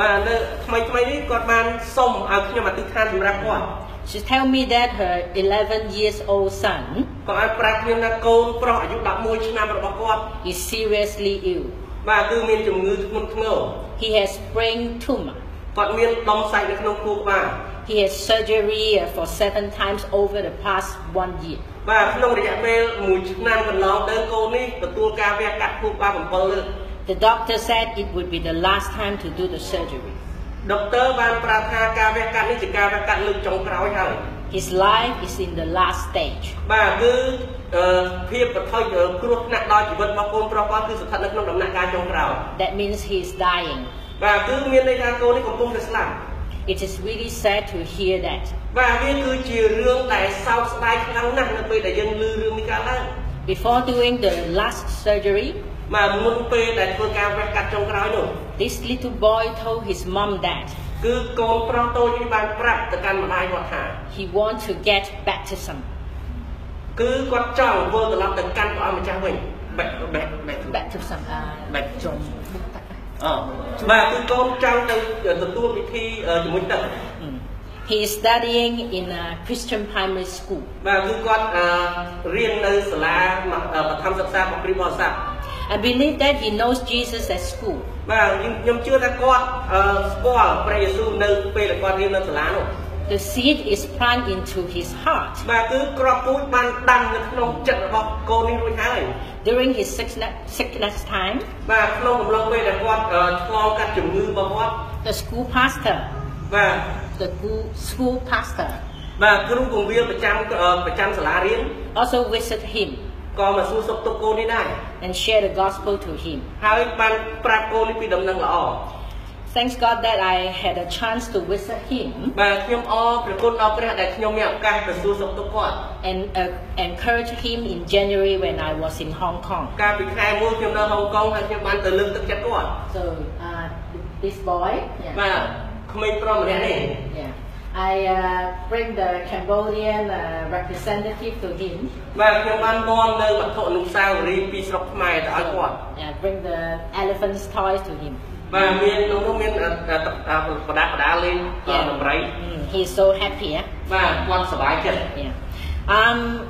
Speaker 1: បាទនៅថ្មីថ្មីនេះគាត់បានសុំឲ្យខ្ញុំអធិដ្ឋានសម្រាប់គាត់
Speaker 2: She tell me that her 11 years old son
Speaker 1: ក៏អាចប្រាប់ខ្ញុំថាកូនប្រុសអាយុ11ឆ្នាំរបស់គាត់
Speaker 2: is seriously ill.
Speaker 1: បាទគឺមានជំងឺធ្ងន់ធ្ងរ
Speaker 2: He has brain tumor.
Speaker 1: គាត់មានដុំសាច់នៅក្នុងខួរក្បាល
Speaker 2: He has surgery uh, for seven times over the past one year.
Speaker 1: បាទក្នុងរយៈពេល1ឆ្នាំកន្លងទៅកូននេះទទួលការវះកាត់ខួរក្បាល7លើក
Speaker 2: The doctor said it would be the last time to do the surgery.
Speaker 1: ដុកទ័របានប្រាប់ថាការវះកាត់នេះជាការវះកាត់លើកចុងក្រោយហើយ
Speaker 2: His life is in the last stage.
Speaker 1: បាទគឺអឺភាពប្រថុយអឺគ្រោះថ្នាក់ដល់ជីវិតរបស់កូនប្រុសគាត់គឺស្ថិតនៅក្នុងដំណាក់កាលចុងក្រោយ
Speaker 2: That means he is dying.
Speaker 1: បាទគឺមានន័យថាកូននេះកំពុងតែស្លាប់
Speaker 2: It is really sad to hear that.
Speaker 1: បាទវាគឺជារឿងដែលសោកស្ដាយខ្លាំងណាស់នៅពេលដែលយើងឮរឿងនេះកើតឡើង
Speaker 2: Before doing the last surgery,
Speaker 1: បាទមុនពេលដែលធ្វើការវះកាត់ចុងក្រោយនោះ
Speaker 2: this little boy told his mom that
Speaker 1: គឺកូនប្រុសតូចនេះបានប្រាប់ទៅកាន់ម្ដាយគាត់ថា
Speaker 2: he wants to get baptism.
Speaker 1: គឺគាត់ចង់ធ្វើត្រឡប់ទៅកាន់ព្រះអង្គម្ចាស់វិញបែបបែបបែប
Speaker 2: Baptism. Uh,
Speaker 1: បែបចង់អូបាទគឺកូនចង់ទៅទទួលពិធីអឺជាមួយទឹក
Speaker 2: mm. He is studying in a Christian primary school.
Speaker 1: បាទគឺគាត់អឺរៀននៅសាលាបឋមសិក្សារបស់ព្រះបរិស័ទ
Speaker 2: I believe that he knows Jesus at school.
Speaker 1: បាទខ្ញុំខ្ញុំជឿថាគាត់អឺស្គាល់ព្រះយេស៊ូវនៅពេលដែលគាត់រៀននៅសាលានោះ
Speaker 2: The seed is planted into his heart.
Speaker 1: បាទគឺក្របពូជបានដាំនៅក្នុងចិត្តរបស់កូននេះរួចហើយ
Speaker 2: During his sickness, sickness time,
Speaker 1: បាទក្នុងកំឡុងពេលដែលគាត់អឺឆ្លងកាត់ជំងឺរបស់គាត់
Speaker 2: the school pastor,
Speaker 1: បាទ
Speaker 2: the goo- school pastor,
Speaker 1: បាទគ្រូពង្រៀនប្រចាំអឺប្រចាំសាលារៀន
Speaker 2: also visit him
Speaker 1: ក៏មកសួរសុខទុក្ខកូននេះដែរ
Speaker 2: and share the gospel to him.
Speaker 1: ហើយបានប្រាប់កូននេះពីដំណឹងល្អ
Speaker 2: Thanks God that I had a chance to visit him
Speaker 1: បាទខ្ញុំអរព្រះគុណដល់ព្រះដែលខ្ញុំមានឱកាសទៅសួរសុខទុក្ខគាត់
Speaker 2: and uh, encourage him in January when I was in Hong Kong.
Speaker 1: កាលពីខែមួយខ្ញុំនៅហុងកុងហើយខ្ញុំបានទៅលើកទឹកចិត្តគាត់
Speaker 2: So uh, this boy, yeah,
Speaker 1: បាទក្មេងប្រុសម្នាក់នេះ
Speaker 2: yeah. I uh, bring the Cambodian uh, representative to him.
Speaker 1: បាទខ្ញុំបាននាំនៅវត្ថុអនុស្សាវរីយ៍ពីស្រុកខ្មែរទៅឲ្យគាត់
Speaker 2: Yeah, bring the elephant's toys to him.
Speaker 1: បាទមានក្នុងនោះមានអឺអឺអឺបដាបដាលេងអឺដំរី
Speaker 2: Mm, he's so happy. Yeah?
Speaker 1: បាទគាត់សប្បាយចិត្ត
Speaker 2: yeah. Um,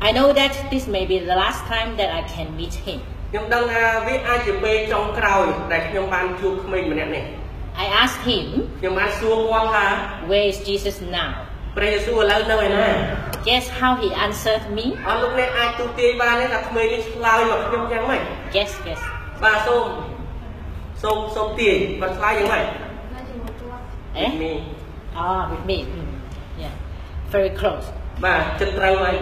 Speaker 2: I know that this may be the last time that I can meet him.
Speaker 1: ខ្ញុំដឹងថាវាអាចជាពេលចុងក្រោយដែលខ្ញុំបានជួបក្មេងម្នាក់នេះ
Speaker 2: I asked him,
Speaker 1: ខ្ញុំបានសួរគាត់ថា
Speaker 2: where is Jesus now?
Speaker 1: ព្រះយេស៊ូវឥឡូវនៅឯណា
Speaker 2: Guess how he answered me?
Speaker 1: អស់លោកអ្នកអាចទូទាយបានទេថាក្មេងនេះឆ្លើយមកខ្ញុំយ៉ាងម៉េច
Speaker 2: Guess, guess.
Speaker 1: បាទសូមសូមសូមទាយបាទឆ្លើយយ៉ាងម៉េច
Speaker 2: Eh?
Speaker 1: មី
Speaker 2: Ah, with me. Mm, Yeah. Very close.
Speaker 1: បាទចិត្តត្រូវហើយ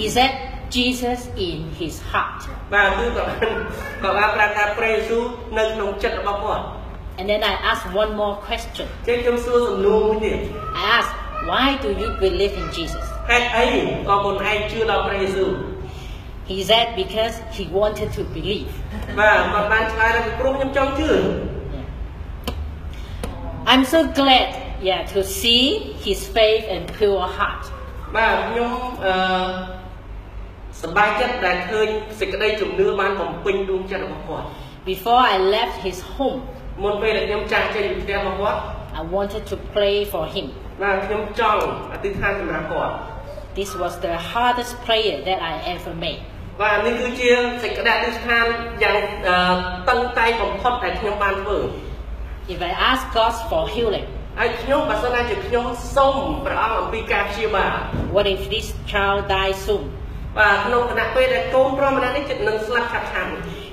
Speaker 2: He said, Jesus in his heart.
Speaker 1: បាទគឺក៏បានក៏បានប្រាប់ថាព្រះយេស៊ូវនៅក្នុងចិត្តរបស់គាត់
Speaker 2: And then I asked one more question.
Speaker 1: ចឹងខ្ញុំសួរសំណួរមួយទៀត
Speaker 2: I asked, why do you believe in Jesus?
Speaker 1: ហេតុអីក៏មិនឯងជឿដល់ព្រះយេស៊ូវ
Speaker 2: He said, because he wanted to believe.
Speaker 1: បាទគាត់បានឆ្លើយថាពីព្រោះខ្ញុំចង់ជឿ
Speaker 2: Yeah. I'm so glad, yeah, to see his faith and pure heart.
Speaker 1: បាទខ្ញុំអឺសប្បាយចិត្តដែលឃើញសេចក្តីជំនឿបានបំពេញដួងចិត្តរបស់គាត់
Speaker 2: Before I left his home,
Speaker 1: មុនពេលដែលខ្ញុំចាស់ចេញពីផ្ទះរបស់គាត់
Speaker 2: I wanted to pray for him.
Speaker 1: បាទខ្ញុំចង់អធិដ្ឋានសម្រាប់គាត់
Speaker 2: This was the hardest prayer that I ever made.
Speaker 1: បាទនេះគឺជាសេចក្តីអធិដ្ឋានយ៉ាងអឺតឹងតែងបំផុតដែលខ្ញុំបានធ្វើ
Speaker 2: If I ask God for healing,
Speaker 1: ហើយខ្ញុំបើសិនណាជាខ្ញុំសូមព្រះអង្គអំពីការព្យាបាល
Speaker 2: what if this child dies soon?
Speaker 1: បាទក្នុងគណៈពេលដែលកូនប្រុសម្នាក់នេះចិត្តនឹងស្លាប់ឆាប់ឆាប់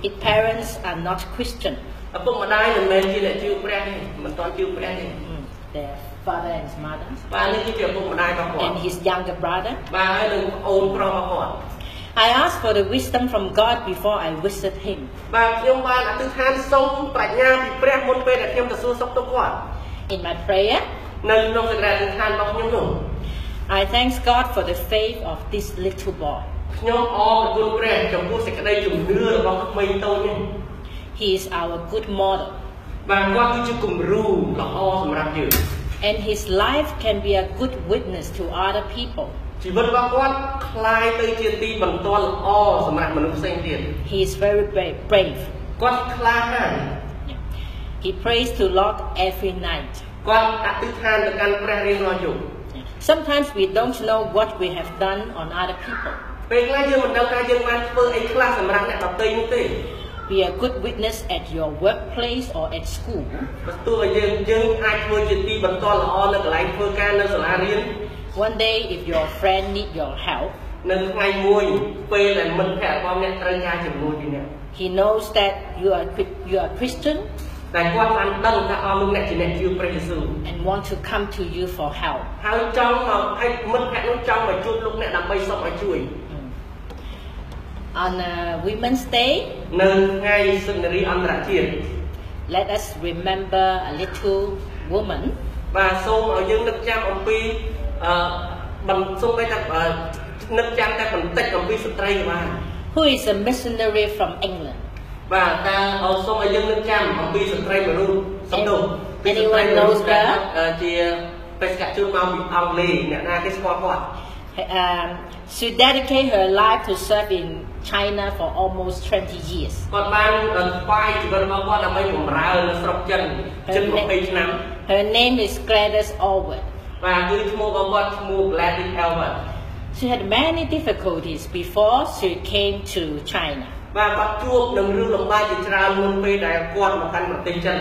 Speaker 2: His parents are not Christian.
Speaker 1: ឪពុកម្ដាយមិនមែនជាអ្នកជឿព្រះទេមិនទាន់ជឿព្រះទេ
Speaker 2: Mm, Their father and his mother,
Speaker 1: បាទនេះគឺជាឪពុកម្ដាយរបស់គាត់
Speaker 2: and his younger brother.
Speaker 1: បាទហើយនឹងប្អូនប្រុសរបស់គាត់
Speaker 2: I asked for the wisdom from God before I visit him.
Speaker 1: បាទខ្ញុំបានអធិដ្ឋានសូមប្រាជ្ញាពីព្រះមុនពេលដែលខ្ញុំទៅសួរសុខទុក្ខគាត់
Speaker 2: In my prayer,
Speaker 1: នៅក្នុងសេចក្តីអធិដ្ឋានរបស់ខ្ញុំនោះ
Speaker 2: I thank God for the faith of this little boy.
Speaker 1: ខ្ញុំអរគុណព្រះចំពោះសេចក្តីជំនឿរបស់ក្មេងតូចនេះ
Speaker 2: He is our good model,
Speaker 1: បាទគាត់គឺជាគំរូល្អសម្រាប់យើង
Speaker 2: and his life can be a good witness to other people.
Speaker 1: ជីវិតរបស់គាត់คล้ายទៅជាទីបន្ទាល់ល្អសម្រាប់មនុស្សផ្សេងទៀត
Speaker 2: He is very bra- brave.
Speaker 1: គាត់ខ្លាចណាស់
Speaker 2: Yeah. He prays to Lord every night.
Speaker 1: គាត់អធិដ្ឋានទៅកាន់ព្រះរៀងរាល់យប់
Speaker 2: Yeah. Sometimes we don't know what we have done on other people.
Speaker 1: ពេលខ្លះយើងមិនដឹងថាយើងបានធ្វើអីខ្លះសម្រាប់អ្នកដទៃនោះទេ
Speaker 2: Be a good witness at your workplace or at school.
Speaker 1: បើទោះឲ្យយើងយើងអាចធ្វើជាទីបន្ទាល់ល្អនៅកន្លែងធ្វើការនៅសាលារៀន
Speaker 2: One day, if your friend need your help,
Speaker 1: នៅថ្ងៃមួយពេលដែលមិត្តភក្តិរបស់អ្នកត្រូវការជាមួយពីអ្នក
Speaker 2: he knows that you are Chri- you are Christian
Speaker 1: តែគាត់បានដឹងថាអស់លោកអ្នកជាអ្នកជឿព្រះយេស៊ូវ
Speaker 2: and want to come to you for help.
Speaker 1: ហើយចង់មកឲ្យមិត្តភក្តិនោះចង់មកជួបលោកអ្នកដើម្បីសុខឲ្យជួយ
Speaker 2: Mm. On uh, Women's Day,
Speaker 1: នៅថ្ងៃសិនារីអន្តរជាតិ
Speaker 2: let us remember a little woman
Speaker 1: បាទសូមឲ្យយើងនឹកចាំអំពីអឺបន្សូមឲ្យថាអឺនឹកចាំតែបន្តិចអំពីស្ត្រីក៏បាន
Speaker 2: who is a missionary from England.
Speaker 1: បាទតើអូសូមឲ្យយើងនឹកចាំអំពីស្ត្រីមួយរូបសំដៅពីស្ត្រី
Speaker 2: Anyone
Speaker 1: មួយរូប
Speaker 2: knows
Speaker 1: ដែល
Speaker 2: her?
Speaker 1: អឺជាបេសកជនមកពីអង់គ្លេសអ្នកណាគេស្គាល់គាត់
Speaker 2: Um, she dedicated her life to serve in China for almost 20 years.
Speaker 1: គាត់បានស្វែងជីវិតរបស់គាត់ដើម្បីបម្រើនៅស្រុកចិនជិត
Speaker 2: Her
Speaker 1: 20 ឆ្នាំ
Speaker 2: Her name is Gladys Allward.
Speaker 1: បាទគឺឈ្មោះរបស់គាត់ឈ្មោះ Gladys Elvin
Speaker 2: She had many difficulties before she came to China.
Speaker 1: បាទគាត់ជួបនឹងរឿងលំបាកជាច្រើនមុនពេលដែលគាត់មកកាន់ប្រទេសចិន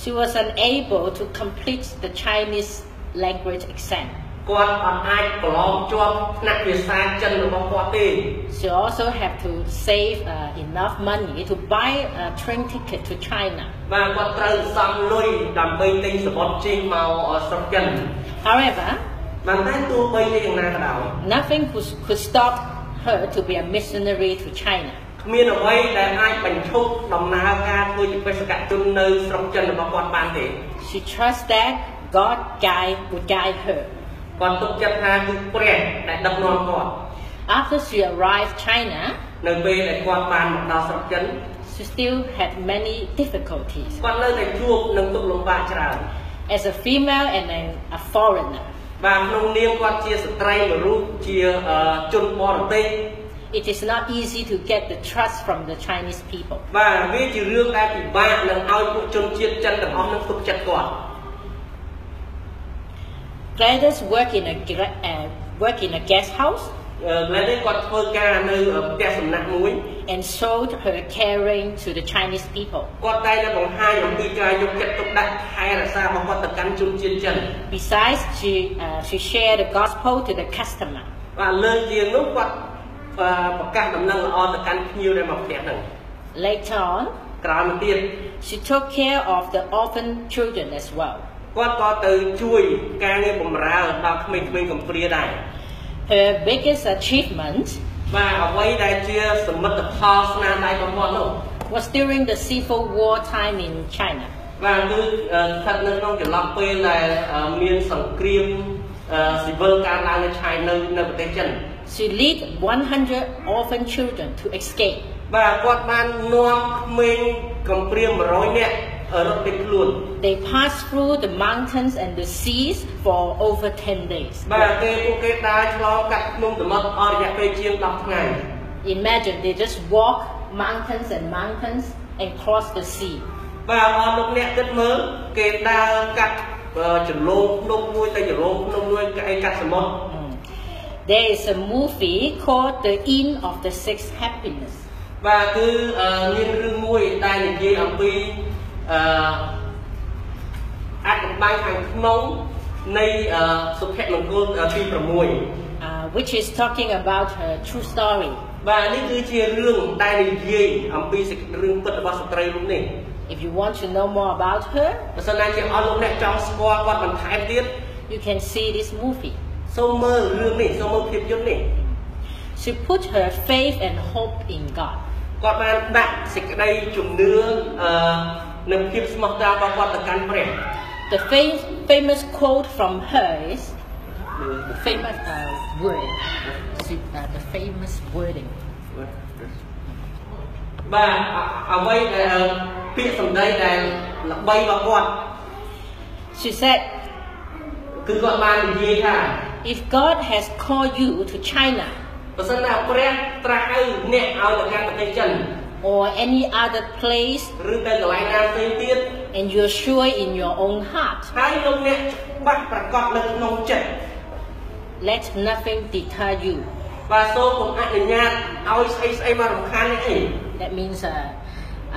Speaker 2: She was unable to complete the Chinese language exam.
Speaker 1: គាត់អត់អាចប្រឡងជាប់ថ្នាក់ភាសាចិនរបស់គាត់ទេ
Speaker 2: She also had to save uh, enough money to buy a train ticket to China.
Speaker 1: បាទគាត់ត្រូវសង់លុយដើម្បីទិញសបុតជិះមកស្រុកចិន
Speaker 2: However,
Speaker 1: បានតែទោះបីជាយ៉ាងណាក៏ដោយ
Speaker 2: nothing could, could stop her to be a missionary to China.
Speaker 1: គ្មានអ្វីដែលអាចបញ្ឈប់ដំណើរការធ្វើជាបេសកជននៅស្រុកចិនរបស់គាត់បានទេ
Speaker 2: She trusts that God guide, would guide her.
Speaker 1: គាត់ទុកចិត្តថាគឺព្រះដែលដឹកនាំគាត់
Speaker 2: After she arrived China,
Speaker 1: នៅពេលដែលគាត់បានមកដល់ស្រុកចិន
Speaker 2: she still had many difficulties.
Speaker 1: គាត់នៅតែជួបនឹងទុក្ខលំបាកច្រើន
Speaker 2: As a female and an, a foreigner,
Speaker 1: បាទក្នុងនាមគាត់ជាស្ត្រីមួយរូបជាអឺជនបរទេស
Speaker 2: it is not easy to get the trust from the Chinese people.
Speaker 1: បាទវាជារឿងដែលពិបាកនឹងឲ្យពួកជនជាតិចិនទាំងអស់នឹងទុកចិត្តគាត់
Speaker 2: Gladys worked in a, gra- uh, worked in a guest house
Speaker 1: អឺឥឡូវនេះគាត់ធ្វើការនៅផ្ទះសំណាក់មួយ
Speaker 2: and showed her caring to the Chinese people.
Speaker 1: គាត់តែងតែបង្ហាញអំពីការយកចិត្តទុកដាក់ថែរក្សារបស់គាត់ទៅកាន់ជនជាតិចិន
Speaker 2: Besides, she, uh, she shared the gospel to the customer.
Speaker 1: បាទលើជាងនោះគាត់អឺប្រកាសដំណឹងល្អទៅកាន់ភ្ញៀវដែលមកផ្ទះហ្នឹង
Speaker 2: Later on,
Speaker 1: ក្រោយមកទៀត
Speaker 2: she took care of the orphan children as well.
Speaker 1: គាត់ក៏ទៅជួយការងារបម្រើដល់ក្មេងៗកំព្រាដែរ
Speaker 2: Her biggest achievement
Speaker 1: បាទអ្វីដែលជាសមិទ្ធផលស្នាដៃរបស់គាត់នោះ
Speaker 2: was during the Civil War time in China.
Speaker 1: បាទគឺអឺស្ថិតនៅក្នុងចន្លោះពេលដែលអឺមានសង្គ្រាមអឺស៊ីវិលកើតឡើងនៅឆៃនៅនៅប្រទេសចិន
Speaker 2: She led 100 orphan children to escape.
Speaker 1: បាទគាត់បាននាំក្មេងកំព្រា100នាក់រត់គេចខ្លួន
Speaker 2: They passed through the mountains and the seas for over 10 days.
Speaker 1: បាទគេពួកគេដើរឆ្លងកាត់ភ្នំសមុទ្រអស់រយៈពេលជាង10ថ្ងៃ
Speaker 2: Imagine they just walk mountains and mountains and cross the sea.
Speaker 1: បាទអស់លោកអ្នកគិតមើលគេដើរកាត់អឺចន្លោងភ្នំមួយទៅចន្លោងភ្នំមួយកាត់ឯកាត់សមុទ្រ
Speaker 2: Mm. There is a movie called The Inn of the Six Happiness.
Speaker 1: បាទគឺអឺមានរឿងមួយដែលនិយាយអំពីអឺអត្ថបទខាងក្នុងនៃអឺសុភមង្គលអឺទី6
Speaker 2: uh, which is talking about her true story.
Speaker 1: បាទនេះគឺជារឿងដែលនិយាយអំពីសេចក្ដីរឿងពិតរបស់ស្ត្រីរូបនេះ
Speaker 2: If you want to know more about her,
Speaker 1: បើសិនណាជាអស់លោកអ្នកចង់ស្គាល់គាត់បន្ថែមទៀត
Speaker 2: you can see this movie.
Speaker 1: សូមមើលរឿងនេះសូមមើលភាពយន្តនេះ
Speaker 2: She put her faith and hope in God.
Speaker 1: គាត់បានដាក់សេចក្តីជំនឿអឺនិងភាពស្មោះត្រង់របស់គាត់ទៅកាន់ព្រះ
Speaker 2: The fam- famous quote from her is the famous uh, word. She- uh, the famous wording.
Speaker 1: បាទអអ្វីដែលពាក្យសម្ដីដែលល្បីរបស់គាត់
Speaker 2: She said,
Speaker 1: គឺគាត់បាននិយាយថា
Speaker 2: "If God has called you to China
Speaker 1: បើសិនណាព្រះត្រាស់ហៅអ្នកឲ្យទៅកាន់ប្រទេសចិន
Speaker 2: or any other place,
Speaker 1: ឬទៅកន្លែងណាផ្សេងទៀត
Speaker 2: and you're sure in your own heart
Speaker 1: ហើយលោកអ្នកច្បាស់ប្រកបនៅក្នុងចិត្ត
Speaker 2: Let nothing deter you.
Speaker 1: បាទសូមកុំអនុញ្ញាតឲ្យស្អីស្អីមករំខានអ្នកឯង
Speaker 2: That means uh,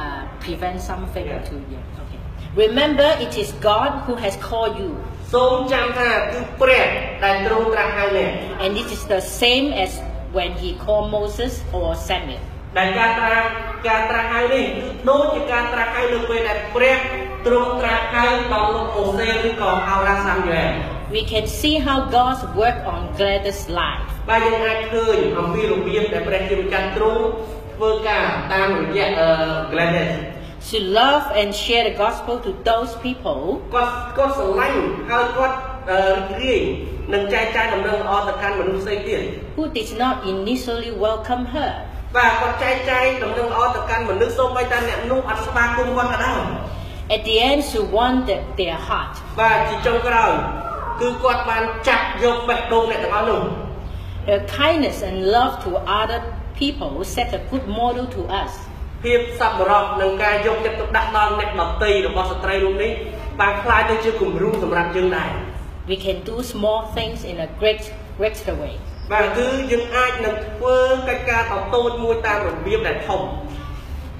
Speaker 2: uh, prevent something
Speaker 1: Yeah.
Speaker 2: to you. Okay. Remember, it is God who has called you,
Speaker 1: សូមចាំថាគឺព្រះដែលទ្រង់ត្រាស់ហៅអ្នក
Speaker 2: and it is the same as when He called Moses or Samuel.
Speaker 1: ដែលការត្រាស់ការត្រាស់ហៅនេះគឺដូចជាការត្រាស់ហៅនៅពេលដែលព្រះទ្រង់ត្រាស់ហៅដល់លោកអូសេឬក៏ហៅរ៉ាសាមយ៉ែល
Speaker 2: We can see how God's work on Gladys' life.
Speaker 1: បាទយើងអាចឃើញអំពីរបៀបដែលព្រះជាម្ចាស់ទ្រង់ធ្វើការតាមរយៈអឺ Gladys
Speaker 2: She loved and shared the gospel to those people
Speaker 1: គាត់គាត់ស្រឡាញ់ហើយគាត់អឺរីករាយនឹងចែកចាយដំណឹងល្អទៅកាន់មនុស្សផ្សេងទៀត
Speaker 2: who did not initially welcome her.
Speaker 1: បាទគាត់ចែកចាយដំណឹងល្អទៅកាន់មនុស្សសូម្បីតែអ្នកនោះអត់ស្វាគមន៍គាត់ក៏ដោយ
Speaker 2: At the end, she won the- their heart.
Speaker 1: បាទជាចុងក្រោយគឺគាត់បានចាប់យកបេះដូងអ្នកទាំងអស់នោះ
Speaker 2: Her kindness and love to other people set a good model to us.
Speaker 1: ភាពសប្បុរសនិងការយកចិត្តទុកដាក់ដល់អ្នកដតីរបស់ស្ត្រីរូបនេះបានខ្លាយទៅជាគំរូសម្រាប់យើងដែរ
Speaker 2: We can do small things in a great, greater way.
Speaker 1: បាទគឺយើងអាចនឹងធ្វើកិច្ចការតតូចមួយតាមរបៀបដែលធំ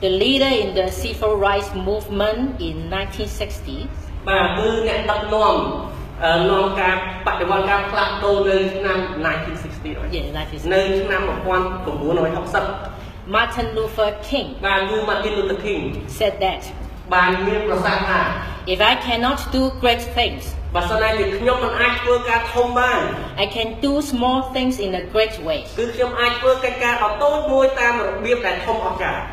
Speaker 2: The leader in the civil rights movement in 1960s
Speaker 1: បាទគឺអ្នកដឹកនាំអឺនាំការបដិវត្តន៍ការផ្លាស់ប្ដូរនៅឆ្នាំ1960ហើយ
Speaker 2: yeah, 1960,
Speaker 1: នៅឆ្នាំ1960
Speaker 2: Martin Luther King
Speaker 1: បាទគឺ Martin Luther King
Speaker 2: said that
Speaker 1: បានមានប្រសាសន៍ថា
Speaker 2: if I cannot do great things,
Speaker 1: បើសិនណាជាខ្ញុំមិនអាចធ្វើការធំបាន
Speaker 2: I can do small things in a great way.
Speaker 1: គឺខ្ញុំអាចធ្វើកិច្ចការដ៏តូចមួយតាមរបៀបដែលធំអស្ចារ្យ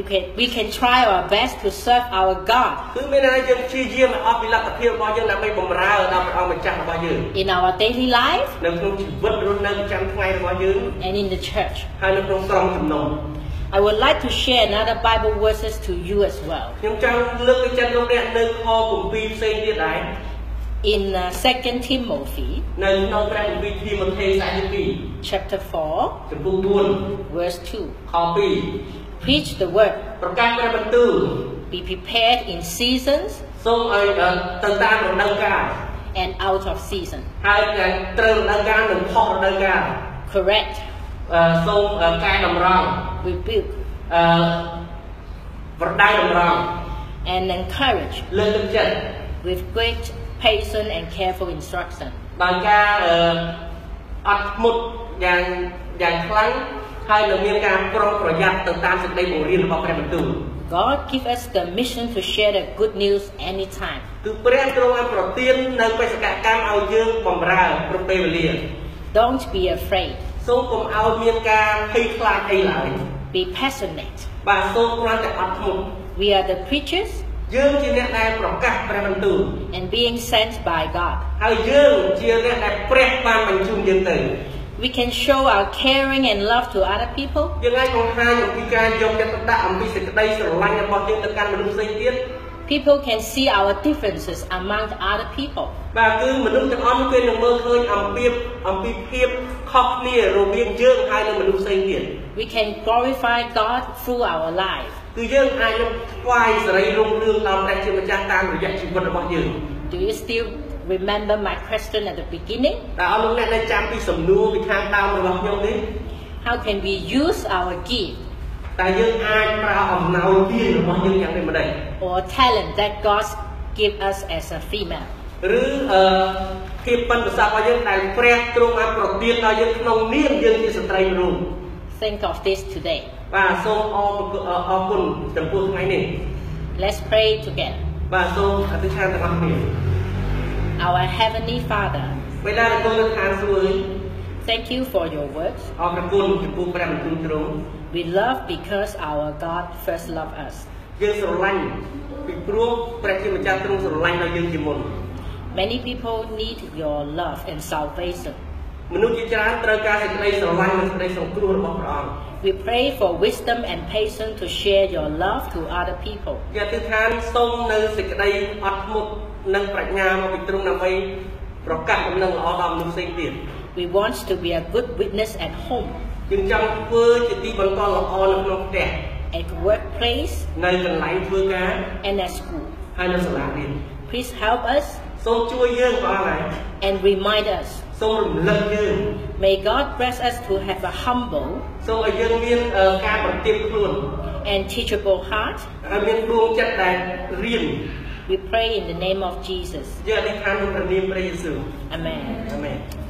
Speaker 2: You can, we can try our best to serve our God
Speaker 1: គឺមានន័យថាយើងព្យាយាមឲ្យអស់ពីលទ្ធភាពរបស់យើងដើម្បីបម្រើដល់ព្រះអង្គម្ចាស់របស់យើង
Speaker 2: in our daily life
Speaker 1: នៅក្នុងជីវិតរស់នៅប្រចាំថ្ងៃរបស់យើង
Speaker 2: and in the church.
Speaker 1: ហើយនៅក្នុងក្រុមចំណង
Speaker 2: I would like to share another Bible verses to you as well.
Speaker 1: ខ្ញុំចង់លើកទឹកចិត្តលោកអ្នកនៅខគម្ពីរផ្សេងទៀតដែរ
Speaker 2: In uh, 2 Timothy
Speaker 1: នៅក្នុងព្រះគម្ពីរធីម៉ូថេខ្សែទី
Speaker 2: chapter 4,
Speaker 1: 2ចំពោះ
Speaker 2: verse 2,
Speaker 1: 4ខ
Speaker 2: preach the word
Speaker 1: 2ប្រកាសព្រះបន្ទូល
Speaker 2: Be prepared in seasons
Speaker 1: សូមឲ្យអឺទៅតាមរដូវកាល
Speaker 2: and out of season.
Speaker 1: ហើយតែត្រូវរដូវកាលនិងខុសរដូវកាល
Speaker 2: Correct,
Speaker 1: អឺសូមអឺកែតម្រង់
Speaker 2: rebuke,
Speaker 1: អឺប្រដៅតម្រង់
Speaker 2: and encourage
Speaker 1: លើកទឹកចិត្ត
Speaker 2: with great patience and careful instruction.
Speaker 1: ដោយការអឺអត់ធ្មត់យ៉ាងយ៉ាងខ្លាំងហើយនឹងមានការប្រុងប្រយ័ត្នទៅតាមសេចក្តីបង្រៀនរបស់ព្រះបន្ទូល
Speaker 2: God give us the mission to share the good news anytime.
Speaker 1: គឺព្រះទ្រង់បានប្រទាននៅបេសកកម្មឲ្យយើងបម្រើប្រពេលវេលា
Speaker 2: Don't be afraid.
Speaker 1: សូមកុំឲ្យមានការភ័យខ្លាចអីឡើយ
Speaker 2: Be passionate.
Speaker 1: បាទសូមគ្រាន់តែអត់ធ្មត់
Speaker 2: We are the preachers
Speaker 1: យើងជាអ្នកដែលប្រកាសព្រះបន្ទូល
Speaker 2: and being sent by God.
Speaker 1: ហើយយើងជាអ្នកដែលព្រះបានបញ្ជូនយើងទៅ
Speaker 2: We can show our caring and love to other people
Speaker 1: យើងអាចបង្ហាញអំពីការយកចិត្តទុកដាក់អំពីសេចក្តីស្រឡាញ់របស់យើងទៅកាន់មនុស្សផ្សេងទៀត
Speaker 2: People can see our differences among other people.
Speaker 1: បាទគឺមនុស្សទាំងអស់នោះគេនឹងមើលឃើញអំពីអំពីភាពខុសគ្នារវាងយើងហើយនឹងមនុស្សផ្សេងទៀត
Speaker 2: We can glorify God through our life.
Speaker 1: គឺយើងអាចនឹងថ្វាយសេរីរុងរឿងដល់ព្រះជាម្ចាស់តាមរយៈជីវិតរបស់យើង
Speaker 2: Do you still remember my question at the beginning?
Speaker 1: តើអស់លោកអ្នកនៅចាំពីសំណួរពីខាងដើមរបស់ខ្ញុំនេះ
Speaker 2: How can we use our gift
Speaker 1: តើយើងអាចប្រើអំណោយទានរបស់យើងយ៉ាងដូចម្តេច
Speaker 2: or talent that God give us as a female?
Speaker 1: ឬអឺភាពប៉ិនប្រសប់របស់យើងដែលព្រះទ្រង់បានប្រទានដល់យើងក្នុងនាមយើងជាស្ត្រីមនុស្ស
Speaker 2: Think of this today.
Speaker 1: បាទសូមអរគុណអរគុណចំពោះថ្ងៃនេះ
Speaker 2: Let's pray together.
Speaker 1: បាទសូមអធិដ្ឋានទាំងអស់គ្នា
Speaker 2: Our Heavenly Father,
Speaker 1: បេតារគុណនៅខាងស្រួយ
Speaker 2: thank you for your words.
Speaker 1: អរព្រះគុណចំពោះព្រះបន្ទូលទ្រង់
Speaker 2: We love because our God first loved us.
Speaker 1: យើងស្រឡាញ់ពីព្រោះព្រះជាម្ចាស់ទ្រង់ស្រឡាញ់ដល់យើងជាមុន
Speaker 2: Many people need your love and salvation.
Speaker 1: មនុស្សជាច្រើនត្រូវការសេចក្តីស្រឡាញ់និងសេចក្តីសង្គ្រោះរបស់ព្រះអង្គ
Speaker 2: We pray for wisdom and patience to share your love to other people.
Speaker 1: យកទិដ្ឋានសូមនៅសេចក្តីអត់ធ្មត់និងប្រាជ្ញាមកពីទ្រង់ដើម្បីប្រកាសដំណឹងល្អដល់មនុស្សផ្សេងទៀត
Speaker 2: We want to be a good witness at home,
Speaker 1: យើងចង់ធ្វើជាទីបន្តល្អនៅក្នុងផ្ទះ
Speaker 2: at workplace,
Speaker 1: នៅកន្លែងធ្វើការ
Speaker 2: and at school.
Speaker 1: ហើយនៅសាលារៀន
Speaker 2: Please help us
Speaker 1: សូមជួយយើងព្រះអង្គហើយ
Speaker 2: and remind us
Speaker 1: ស សូមរំលឹកយើង
Speaker 2: May God bless us to have a humble
Speaker 1: សូមឲ្យយើងមានអឺការបន្ទាបខ្លួន
Speaker 2: and teachable heart.
Speaker 1: ហើយមានដួងចិត្តដែលរៀន
Speaker 2: We pray in the name of Jesus.
Speaker 1: យើងអធិដ្ឋានក្នុងព្រះនាមព្រះយេស៊ូវ
Speaker 2: Amen.
Speaker 1: អាមែន